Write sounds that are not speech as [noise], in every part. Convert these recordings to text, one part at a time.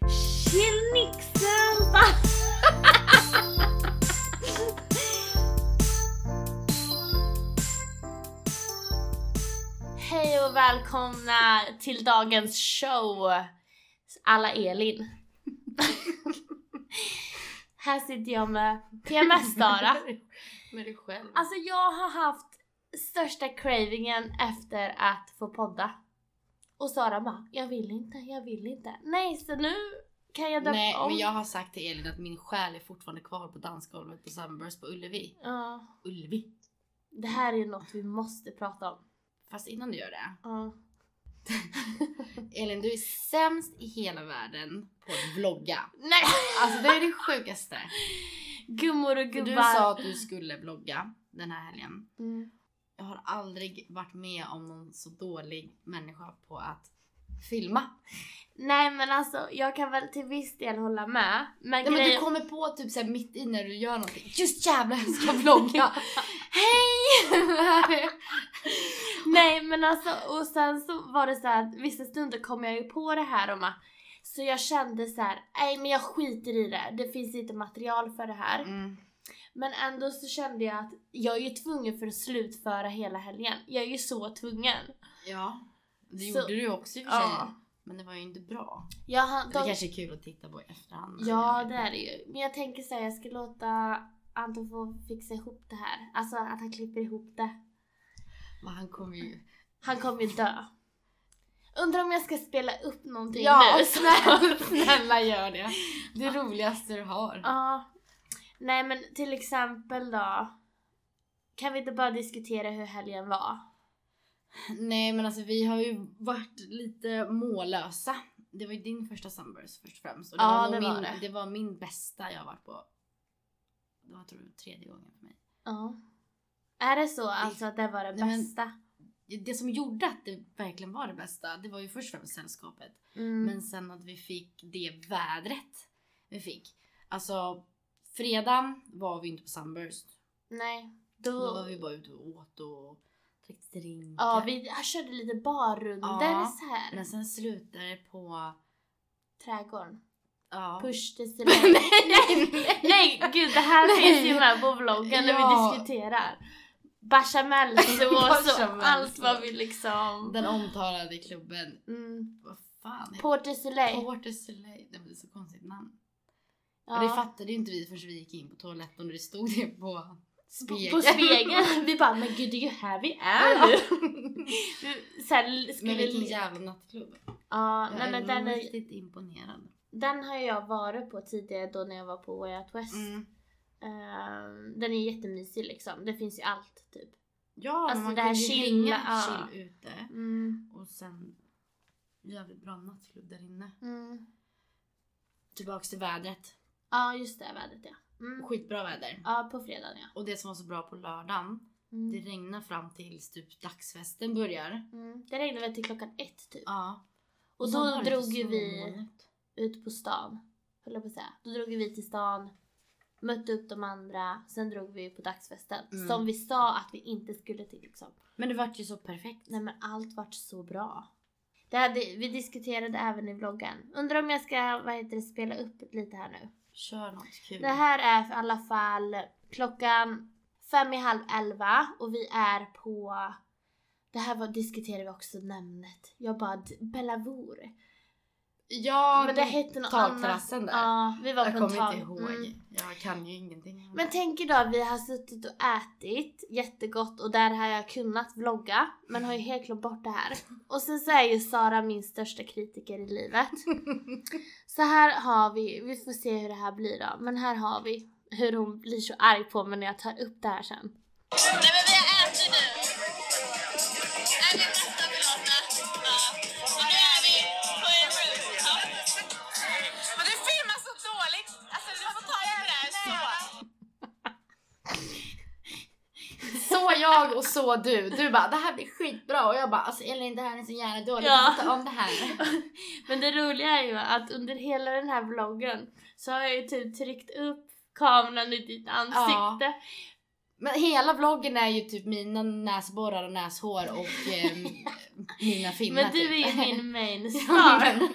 [laughs] välkomna till dagens show. Alla Elin. Här sitter jag med [laughs] PMS-Dara. Med dig själv. Alltså jag har haft största cravingen efter att få podda. Och Sara bara, jag vill inte, jag vill inte. Nej, så nu kan jag döpa Nej om. men jag har sagt till Elin att min själ är fortfarande kvar på dansgolvet på Sunburst på Ullevi. Ja, Ullevi? det här är ju något vi måste prata om. Fast innan du gör det. Ja. Elin du är sämst i hela världen på att [laughs] vlogga. Nej! Alltså det är det sjukaste. Gummor och För gubbar. du sa att du skulle vlogga den här helgen. Mm. Jag har aldrig varit med om någon så dålig människa på att filma. Nej men alltså jag kan väl till viss del hålla med. Men, Nej, men du grejen- kommer på typ såhär mitt i när du gör någonting. Just jävlar jag ska [laughs] vlogga! Hej! [laughs] Nej men alltså och sen så var det så här att vissa stunder kom jag ju på det här om att så jag kände så här, nej men jag skiter i det, det finns inte material för det här. mm. Men ändå så kände jag att jag är ju tvungen för att slutföra hela helgen. Jag är ju så tvungen. Ja, det Så- gjorde du ju också i och för sig. Ja. Men det var ju inte bra. Jag har, Det de, kanske är kul att titta på i efterhand. ja det är det ju. Men jag tänker så här, jag ska låta Anton få fixa ihop det här. Alltså att han klipper ihop det. Men han kommer ju... Han kommer ju dö. Undrar om jag ska spela upp någonting [laughs] nu. som- [laughs] snälla, snälla gör det. Det är roligaste du har. Ja. Nej men till exempel då. Kan vi inte bara diskutera hur helgen var? Nej men alltså vi har ju varit lite mållösa. Det var ju din första Sunburst först och främst. Och det Ja, var nog det var min, det. det var min bästa jag har varit på. Det var tror jag tredje gången för mig. Ja. Är det så alltså att det var det Nej, men- bästa? Det som gjorde att det verkligen var det bästa, det var ju först och främst sällskapet. Mm. Men sen att vi fick det vädret vi fick. Alltså fredagen var vi inte på Sunburst. Nej. Då... Då var vi bara ute och åt och drickte drinkar. Ja, vi jag körde lite barrunder Ja, så här. Men sen slutade det på... Trädgården. Ja. Push the [laughs] [laughs] nej, cement. nej, nej. [laughs] Nej gud det här Nej. finns ju med på vloggen när Ja. vi diskuterar. [laughs] Bechamelsås och Bechamelsås. allt vad vi liksom... Den omtalade klubben. Mm. Vad fan heter Port du det? Soleil. Port du Soleil. Det var ett så konstigt namn. Ja. Och det fattade ju inte vi förrän vi gick in på toaletten och det stod det på spegeln. På, på [laughs] spegeln. [laughs] Vi bara, men gud det är ju här vi är nu. Vi- Så här, skulle men vilken le- jävla nattklubb. Ja, Jag nej är men den, är, riktigt imponerad. den har jag varit på tidigare då när jag var på Way Out West. Mm. Ehm, den är jättemysig liksom. Det finns ju allt typ. Ja, Alltså, men man det här kunde ju chilla, hänga ja. chill ute. Mm. Och sen jävligt bra nattklubb där inne. Mm. Tillbaks till vädret. Ja just det, vädret ja. Mm. Skitbra väder. Ja på fredagen ja. Och det som var så bra på lördagen, det Mm. regnar fram tills typ dagsfesten börjar. Mm. Det regnade väl till klockan ett typ. Ja. Och sen var då det lite drog ju vi solmolnigt. ut på stan. Höll jag på att säga. Då drog ju vi till stan, mötte upp de andra, sen drog vi på dagsfesten. Mm. Som vi sa att vi inte skulle till liksom. Men det vart ju så perfekt. Nej men allt vart så bra. Det hade, vi diskuterade även i vloggen. Undrar om jag ska vad heter det, spela upp lite här Mm. nu. Kör något kul. Det här är för alla fall klockan fem i halv elva och vi är på... Det här var, diskuterade vi också namnet. Jag bara d- Bellavour. Ja, men det hette något annat. Takterrassen där. Ja, vi var Jag på en kommer tak- inte ihåg. Mm. Jag kan ju ingenting. Men tänk er då att vi har suttit och ätit jättegott och där har jag kunnat vlogga men har ju helt glömt bort det här. Och sen så är ju Sara min största kritiker i [laughs] livet. Så här har vi, vi får se hur det här blir då, men här har vi hur hon blir så arg på mig när jag tar upp det här sen. Nej men vi har ätit nu. Nej vi är nästan belåtna. Ja. Så nu är vi på en rooftop. Men du filmar så dåligt. Alltså du får ta i det där så. [laughs] Så jag och så du. Du bara det här blir skitbra och jag bara alltså Elin det här är så jävla dåligt. Ja. Ja. om det här. Men det roliga är ju att under hela den här vloggen så har jag ju typ tryckt upp kameran i ditt ansikte. Men hela vloggen är ju typ mina näsborrar och näshår och eh, mina finnar men du är ju [laughs] typ. min main Ja, star. men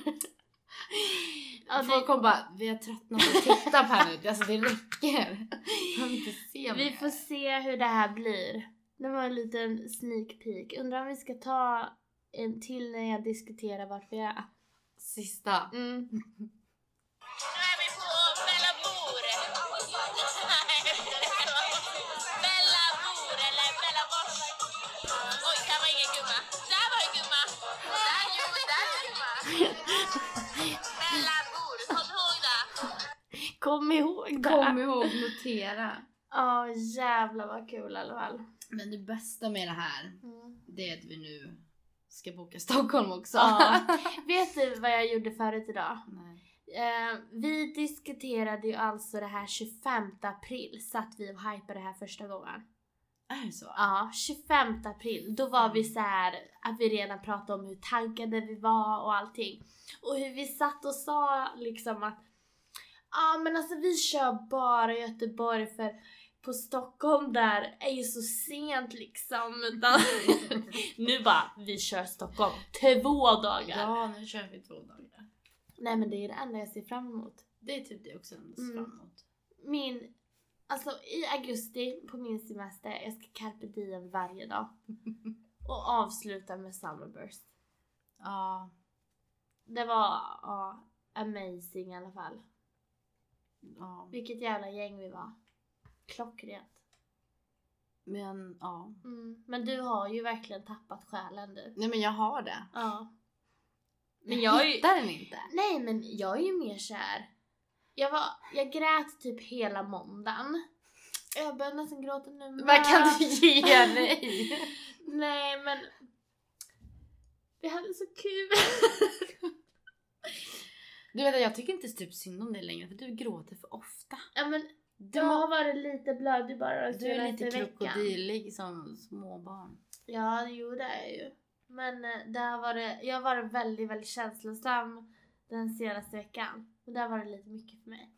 Ja, det- Folk kommer bara vi har tröttnat på att titta på henne. Alltså det räcker. Jag vill inte se Vi mer. får se hur det här blir. Det var en liten sneak peek. Undrar om vi ska ta en till när jag diskuterar vart vi är. Sista. Mm. Nu är vi på Bellabor. Bellabor eller Bellabors. Oj, där var ingen gumma. Där var en gumma. Där, jo, där är en gumma. Bellabor, Kom kom ihåg det. ihåg det! Kom ihåg notera. Ja, jävlar vad kul i alla fall. Men det bästa med det här, Mm. det är att vi nu ska boka Stockholm också. Ja. [laughs] Vet du vad jag gjorde förut idag? [laughs] Nej. Eh, vi diskuterade ju alltså det här 25 april, satt vi och hypade det här första gången. Är det så? Ja, 25 april. Då var vi så här att vi redan pratade om hur taggade vi var och allting. Och hur vi satt och sa liksom att ja men alltså vi kör bara Göteborg för på Stockholm där är ju så sent liksom. Utan [laughs] nu bara, vi kör Stockholm två dagar. Ja, nu kör vi två dagar. Nej men det är det enda jag ser fram emot. Det är typ det också jag ser Mm. fram emot. min, alltså i augusti på min semester, jag ska carpe diem varje dag. Och avsluta med Summerburst. Ja, Det var ja, amazing i alla fall. ja. Vilket jävla gäng vi var. Klockrent. Men ja. Mm. Men du har ju verkligen tappat själen du. Nej men jag har det. Ja. Men jag är ju... hittar den inte. Nej men jag är ju mer såhär. Jag, var, jag grät typ hela måndagen. Jag börjar nästan gråta nu Vad kan med. du ge mig? Nej men vi hade så kul. [laughs] Du vet att jag tycker inte typ synd om dig längre för du gråter för ofta. ja, men, Du, jag har varit lite blöd, du bara du är lite senaste veckan. krokodilig som småbarn. Ja, jo det är jag ju. Men eh, där var det, jag har varit väldigt, väldigt känslosam den senaste veckan. Och där var det lite mycket för mig.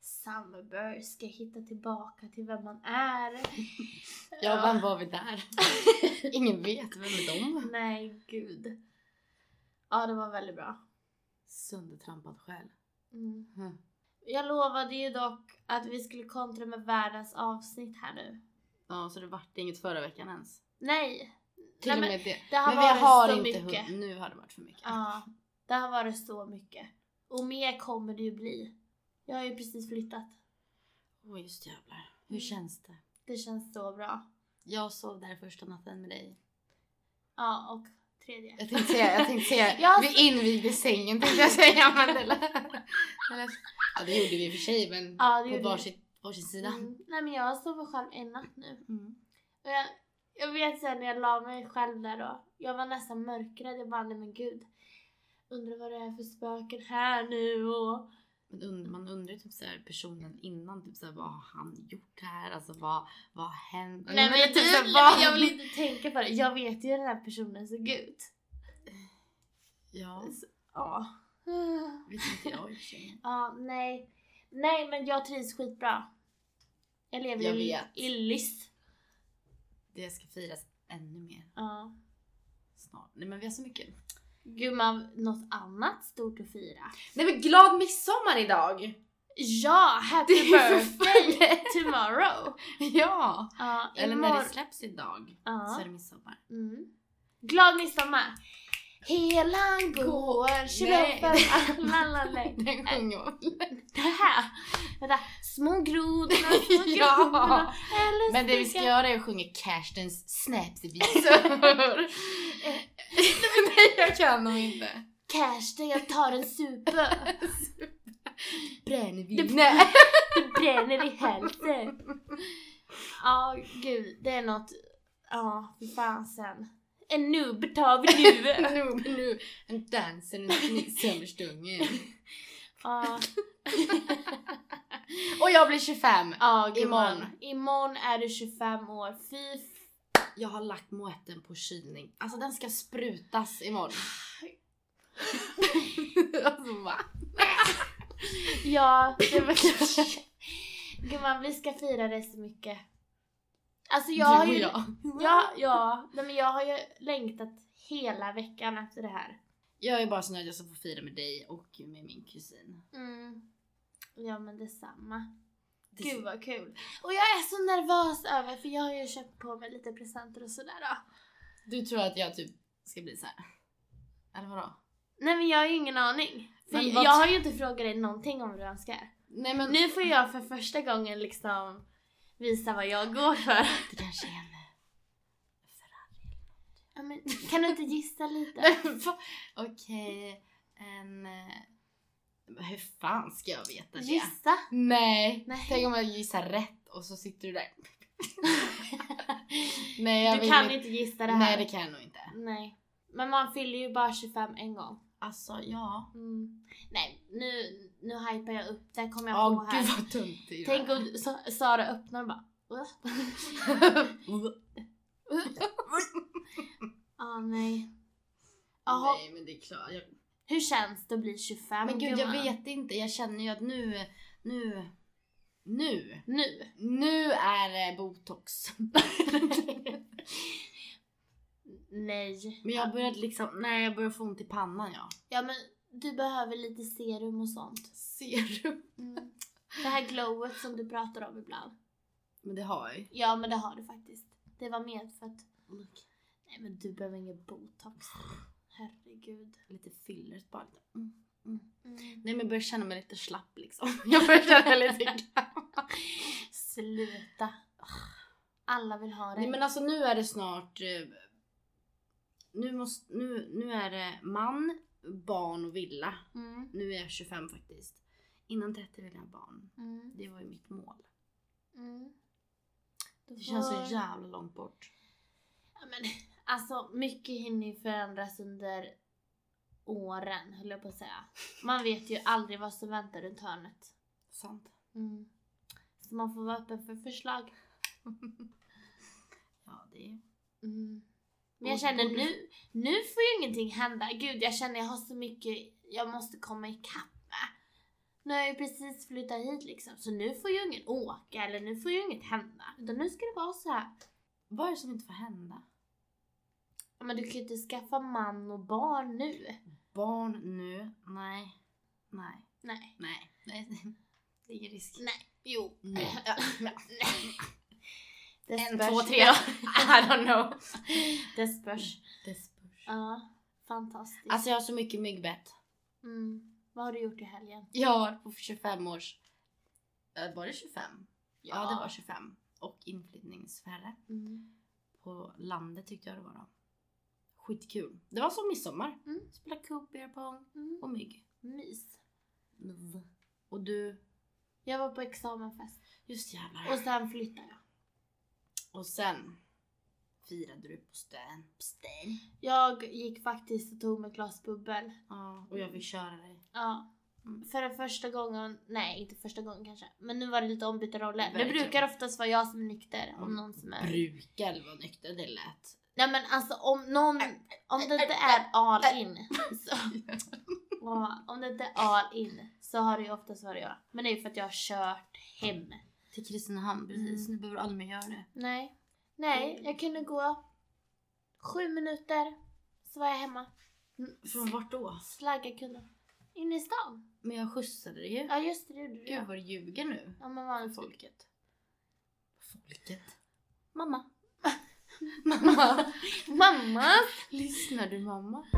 Summerburst, ska jag hitta tillbaka till vem man är? [laughs] Ja, vem var vi [laughs] där? Ingen vet vem är de? Nej, gud. Ja, det var väldigt bra. Söndertrampad själ. Mm. Mm. Jag lovade ju dock att vi skulle kontra med världens avsnitt här nu. Ja, så det vart inget förra veckan ens. Nej! Till Nej, och men med det. Det har men varit vi har så inte mycket. hunnit. Nu har det varit för mycket. Ja, det har varit så mycket. Och mer kommer det ju bli. Jag har ju precis flyttat. Åh just jävlar. Hur Mm. känns det? Det känns så bra. Jag sov där första natten med dig. Ja, och tredje. Jag tänkte säga, jag tänkte säga Jag- vi invigde sängen tänkte jag säga [laughs] men det lät, det lät, Ja det gjorde vi i och för sig men Ja, det gjorde vi. på varsitt, varsin sida. Mm. Nej men jag har sovit själv en natt nu. Mm. Och jag, jag vet sen när jag la mig själv där då. Jag var nästan mörkrädd. Jag bara, nej men gud. Undrar vad det är för spöken här nu och... Men und, man undrar ju typ såhär personen innan, typ såhär, vad har han gjort här? Alltså vad, vad har hänt? Nej men jag, typ såhär, jag, vad- jag vill inte tänka på det. Jag vet ju hur den här personen såg ut. Ja, Ja. vet inte jag i och för sig. Ja, nej. Nej, men jag trivs skitbra. Jag lever Jag i, vet. i lyss. Det ska firas ännu mer Ja. snart. Nej men vi har så mycket. Gumman, något annat stort att fira? Nej men glad midsommar idag! Ja, happy [laughs] Det är för [laughs] [laughs] birthday tomorrow! Ja! Ja, Eller när imorgon- det släpps idag så är Ja. det midsommar. Mm. Glad midsommar! Hela går, [laughs] Nej. tjolahoppar, [laughs] Den sjunger man. Det här! Vänta, små [laughs] grodorna, små Ja. grodorna, eller Men det vi ska sticka- göra är att sjunga Carstens snapsvisor. [laughs] Nej jag kan dem inte. Cash där jag tar en super. Brännvin. Det bränner i hälften. Ja, gud, det är något. Ja, fy fasen. En nubb tar vi [laughs] nu. [laughs] Nu, nu. En danser runt midsommarstången. Ja, Och jag blir 25. ja, gumman. Imorgon. Imorgon är du 25 år. Fy f- Jag har lagt moetten på kylning. Alltså den ska sprutas imorgon. [laughs] alltså va? Ja, det var Gumman, vi ska fira det så mycket. Alltså jag har du och ju... jag. Ja, ja. Nej, men jag har ju längtat hela veckan efter det här. Jag är bara så nöjd att jag ska få fira med dig och med min kusin. Mm. Ja, men detsamma. Det- Gud vad kul! Och jag är så nervös över för jag har ju köpt på mig lite presenter och sådär då. Du tror att jag typ ska bli så här. Eller vadå? Nej men jag har ju ingen aning. För Men vad- jag har ju inte frågat dig någonting om vad du önskar. Nej men Nu får jag för första gången liksom visa vad jag går för. det kanske är en... Ja, men, kan du inte gissa lite? Nej, men fa- [laughs] Okej, en... eh, Hur fan ska jag veta det? Gissa. Nej. Nej. tänk om jag gissar rätt och så sitter du [laughs] där. Nej, jag Du vill kan inte gissa det här. Nej, det kan jag nog inte. Nej. Men man fyller ju bara 25 en gång. Alltså, ja. Mm. Nej, nu, nu hypar jag upp. Det kommer jag Ja, på här. gud vad dumt det Tänk [laughs] om Sa- Sara öppnar och bara... "Va?" ah, nej. Jaha, Nej, men det är klart. Jag... hur känns det att bli 25 Men gud, jag gumman? vet inte. Jag känner ju att nu... Nu... Nu. Nu. Nu är det [laughs] botox. Nej. men jag har börjat liksom... Nej, jag börjar få ont i pannan, ja. Ja men du behöver lite serum och sånt. Ser du? Mm. Det här glowet som du pratar om ibland. Men det har jag ju. Ja men det har du faktiskt. Det var med för att... Nej men du behöver ingen botox. Herregud. Lite filler bara. lite, Mm. Nej men jag börjar känna mig lite slapp liksom. [laughs] Jag börjar känna mig lite gammal. Sluta. Alla vill ha det. Nej men alltså nu är det snart... eh, Nu, måste, nu, nu är det man, barn och villa. mm. Nu är jag 25 faktiskt. Innan 30 vill jag ha barn. Mm. Det var ju mitt mål. Mm. Du Det känns får- så jävla långt bort. Ja, men, alltså mycket hinner ju förändras under åren höll jag på att säga. Man vet ju aldrig vad som väntar runt hörnet. Sant. Mm. Så man får vara öppen för förslag. Ja det är... Mm. Men jag Och känner borde- nu, nu får ju ingenting hända. Gud jag känner jag har så mycket jag måste komma ikapp med. Nu har jag ju precis flyttat hit liksom så nu får ju ingen åka eller nu får ju inget hända. Utan nu ska det vara så här. Vad är det som inte får hända? Ja, Men du kan ju inte skaffa man och barn nu. Barn nu? Nej. Nej. Nej. Nej. [laughs] Nej. Det är risk. Nej. Jo. Nej. [laughs] Ja. Det En, spörs. två, tre. Ja, I don't know. [laughs] Det spörs. Det spörs. Ja, fantastiskt. Alltså jag har så mycket myggbett. mm. Vad har du gjort i helgen? Jag har varit på 25 års... eh, Var det 25? Ja, det var 25. Och inflyttningsfärre. Mm. På landet tyckte jag det var då. Skitkul. Det var som midsommar. Mm. Spela kubbierpong Mm. och mygg. Mys. Och du... Jag var på examenfest. Just jävlar. Och sen flyttade jag. Och sen firade du på stön. På stön. Jag gick faktiskt och tog mig ett glas bubbel. Ja, och jag fick köra dig. Ja. Mm. För den första gången, nej inte första gången kanske, men nu var det lite ombytta roller. Det Verkligen. brukar oftast vara jag som är nykter om Mm. någon som är... Brukar vara nykter, det lät. Nej men alltså om någon, om det inte är all [laughs] in. Så, Ja, om det inte är all in så har det ju oftast varit jag. Men det är ju för att jag har kört hem. Till Kristinehamn precis, nu behöver du aldrig mer göra det. Nej. Mm. Nej, jag kunde gå sju minuter så var jag hemma. Från vart då? Slagga kunde. In i stan. Men jag skjutsade dig ju. Ja just det, det gjorde Gud du. vad du ljuger nu. Ja men vanligt. Folket. Folket. Mamma. [laughs] mamma. Mamma! Lyssnar du mamma? [laughs]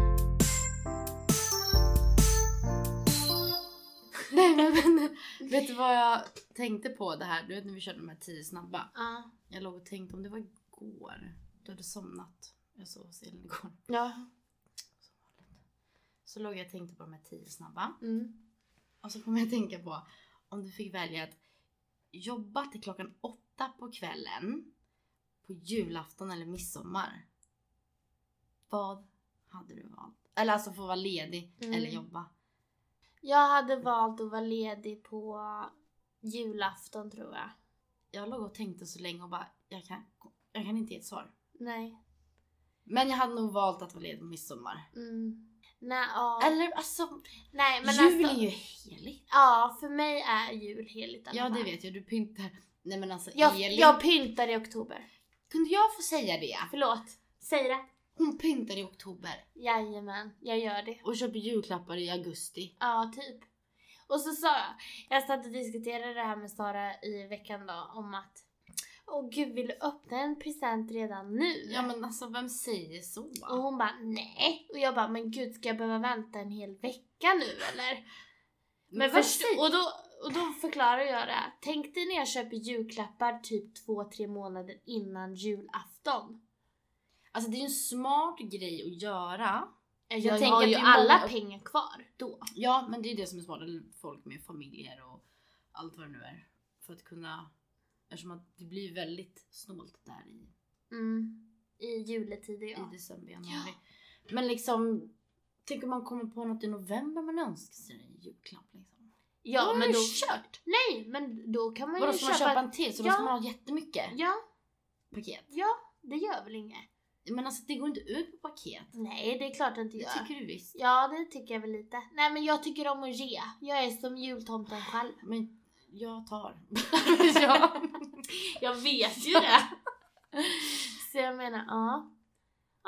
Nej men, men vet du vad jag tänkte på det här? Du vet när vi körde de här tio snabba. Ja. Jag låg och tänkte om det var igår. Du hade somnat. Jag sov hos Elin igår. Ja. som vanligt. Så låg jag och tänkte på de här tio snabba. Mm. Och så kom jag att tänka på om du fick välja att jobba till klockan åtta på kvällen på julafton eller midsommar. Vad hade du valt? Eller alltså få vara ledig Mm. eller jobba. Jag hade valt att vara ledig på julafton tror jag. Jag låg och tänkte så länge och bara, jag kan, jag kan inte ge ett svar. Nej. Men jag hade nog valt att vara ledig på midsommar. Mm. Nej, ja. Eller alltså, Nej men jul alltså. är ju heligt. Ja, för mig är jul heligt. Ja Anna. det vet jag, du pyntar. Nej men alltså jag. Elin. Jag pyntar i oktober. Kunde jag få säga det? Förlåt, säg det. Hon pyntar i oktober Jajamän, jag gör det. och köper julklappar i augusti. Ja, typ. Och så sa jag, jag satt och diskuterade det här med Sara i veckan då om att Och gud vill du öppna en present redan nu? Ja men alltså vem säger så? Och hon bara nej. Och jag bara men gud ska jag behöva vänta en hel vecka nu eller? Men först, säger- och, då, och då förklarar jag det. här. Tänk dig när jag köper julklappar typ två tre månader innan julafton. Alltså det är ju en smart grej att göra. Jag, Jag tänker har att ju det är alla många- pengar kvar då. Ja men det är ju det som är smart, eller folk med familjer och allt vad det nu är. För att kunna, eftersom att det blir väldigt snålt där i, Mm. I juletider ja. i december, januari. Men liksom, tänk om man kommer på något i november man önskar sig en julklapp liksom. Ja är men det då... kört! Nej men då kan man Vadå ju ska man köpa... köpa en till? Så då Ja. ska man ha jättemycket Ja, paket. det gör väl inget? Men alltså det går inte ut på paket. Nej det är klart att det Det gör. tycker du visst. Ja det tycker jag väl lite. Nej men jag tycker om att ge. Jag är som jultomten själv. Men jag tar. [laughs] [laughs] ja. Jag vet ju det. Så jag menar, ja.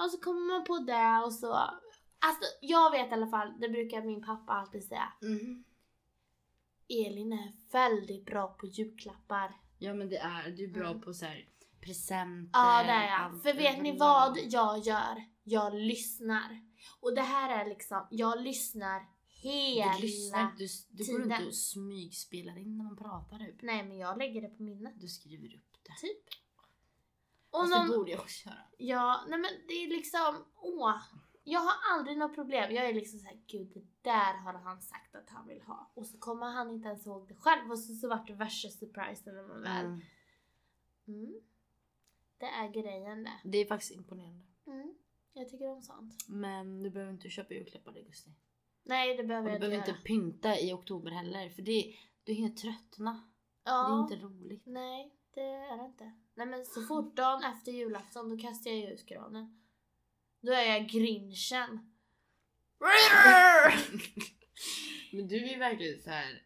Och så kommer man på det och så. Alltså jag vet i alla fall, det brukar min pappa alltid säga. Mm. Elin är väldigt bra på julklappar. Ja men det är, du är bra Mm. på så här presenter. Ja det är jag. allt- För vet ni vad jag gör? Jag lyssnar. Och det här är liksom, jag lyssnar hela... Du lyssnar inte, du, du går tiden. inte och smygspelar in när man pratar typ. Nej men jag lägger det på minnet. Du skriver upp det. Typ. Och Fast någon, det borde jag också göra. Ja, nej men det är liksom, åh. Jag har aldrig något problem. Jag är liksom såhär, gud det där har han sagt att han vill ha. Och så kommer han inte ens ihåg det själv och så, så vart det värsta surprisen när man väl... Mm. Mm. Det är grejen det. Det är faktiskt imponerande. Mm. Jag tycker om sånt. Men du behöver inte köpa julklappar i augusti. Nej det Och behöver du jag inte behöver göra. inte pynta i oktober heller för det, du hinner tröttna. Det är ja, inte roligt. Nej, det är det inte. Nej men så fort dagen efter julafton då kastar jag ut granen. Då är jag grinchen. [laughs] Men du är verkligen så här.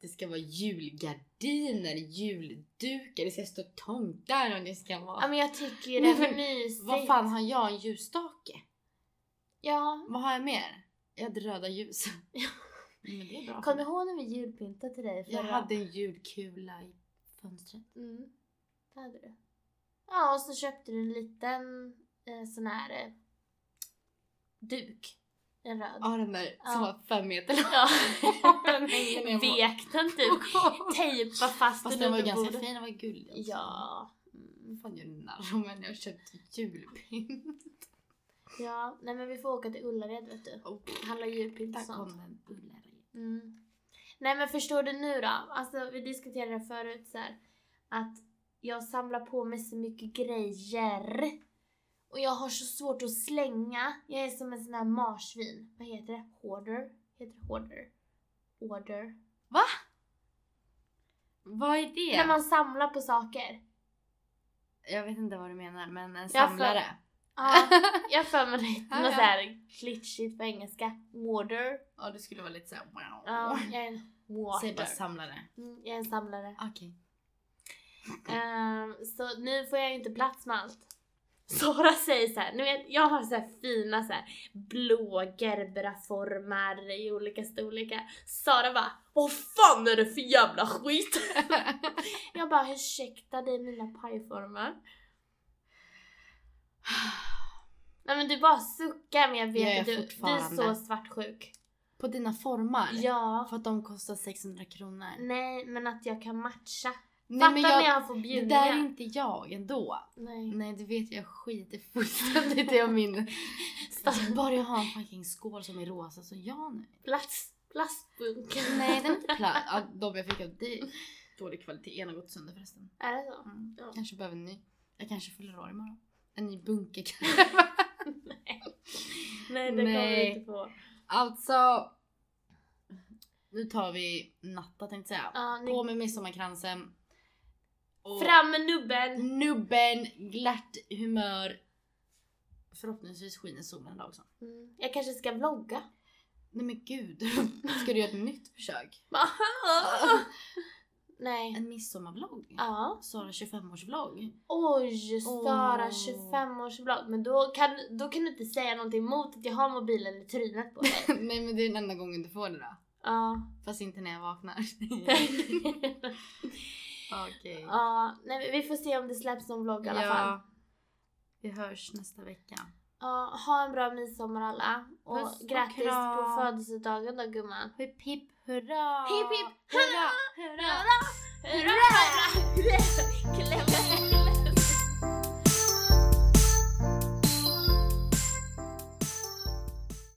Det ska vara julgardiner, juldukar, det ska stå tomtar och det ska vara... Ja men jag tycker ju det Nej, är men mysigt. Vad fan har jag? En ljusstake? Ja, Vad har jag mer? Jag hade röda ljus. [laughs] Men det är bra. för Kommer mig. du ihåg när vi julpyntade till dig? jag förra- hade en julkula i fönstret. Mm, det hade du. Ja, och så köpte du en liten eh, sån här eh, duk. En röd. Ja, den där som Ja. var fem meter [laughs] lång. Ja. Den hänger ner på- Vek den [laughs] typ. Tejpa fast den Fast den var ju under ganska bordet. fin, den var gullig också. Ja. Mm. Vad fan gör du narr om en? Jag har köpt julpynt. Ja, nej men vi får åka till Ullared vet du. Oh, Handla julpynt [laughs] och där sånt. kom en ullare. Mm. Nej men förstår du nu då? Alltså vi diskuterade det förut så här, att jag samlar på mig så mycket grejer. Och jag har så svårt att slänga. Jag är som en sån här marsvin. Vad heter det? Hoarder? Heter det hoarder? Order? Vad är det? När man samlar på saker. Jag vet inte vad du menar men en för- samlare. [laughs] Ja, jag har för mig det heter Ja, något ja. så här glitchigt på engelska. Order. Ja det skulle vara lite såhär wow. Ja, jag är en Säg bara hoarder. samlare. Mm, jag är en samlare. Okej. Mm. Ehm, så nu får jag ju inte plats med allt. [laughs] Sara säger så här, nu vet, jag har så här fina så här, blå gerberaformar i olika storlekar. Sara bara, vad fan är det för jävla skit? [laughs] jag bara, ursäkta det är mina pajformar. Nej men du bara suckar men jag Jag vet är att du, du är så fortfarande- svartsjuk. [sighs] På dina formar? Ja. För att de kostar 600 kronor. Nej men att jag kan matcha. Nej Fattar men när jag, jag får det bjudningar. där är inte jag ändå. Nej. Nej du vet jag skiter fullständigt i [laughs] om min... Stackars- Bara jag har en fucking skål som är rosa så jag nu. Plats, plastbunken. [laughs] Nej den är inte platt. Ja, de jag fick av dig. Dålig kvalitet. En har gått sönder förresten. Är det så? Mm. Ja. Kanske behöver en ny. Jag kanske fyller år imorgon. En ny bunke kanske. [laughs] Nej, det kommer vi Nej. inte på. Alltså. Nu tar vi natta tänkte jag säga. Ja, På ni... med midsommarkransen. Och Fram med nubben! Mm. nubben, glatt humör. Förhoppningsvis skiner solen idag också. Mm. Jag kanske ska [laughs] vlogga. Nej men gud. [laughs] Ska du göra ett nytt försök? Nej. En midsommarvlogg? Ja. Sara 25-årsvlogg? Oj, Sara Åh. 25-årsvlogg. Men då kan, då kan du inte säga någonting emot att jag har mobilen i trynet på [laughs] dig. [laughs] Nej men det är den enda gången du får det då. Ja. Fast inte när jag vaknar. Okej. [laughs] Ja, nej, men vi får se om det släpps någon vlogg i alla fall. Ja. Vi hörs nästa vecka. Ja, ha en bra midsommar alla. Och Puss och grattis på kram. födelsedagen då gumman. Hipp hipp hurra! Hipp, hipp, hurra! Hurra! Hurra! Hurra!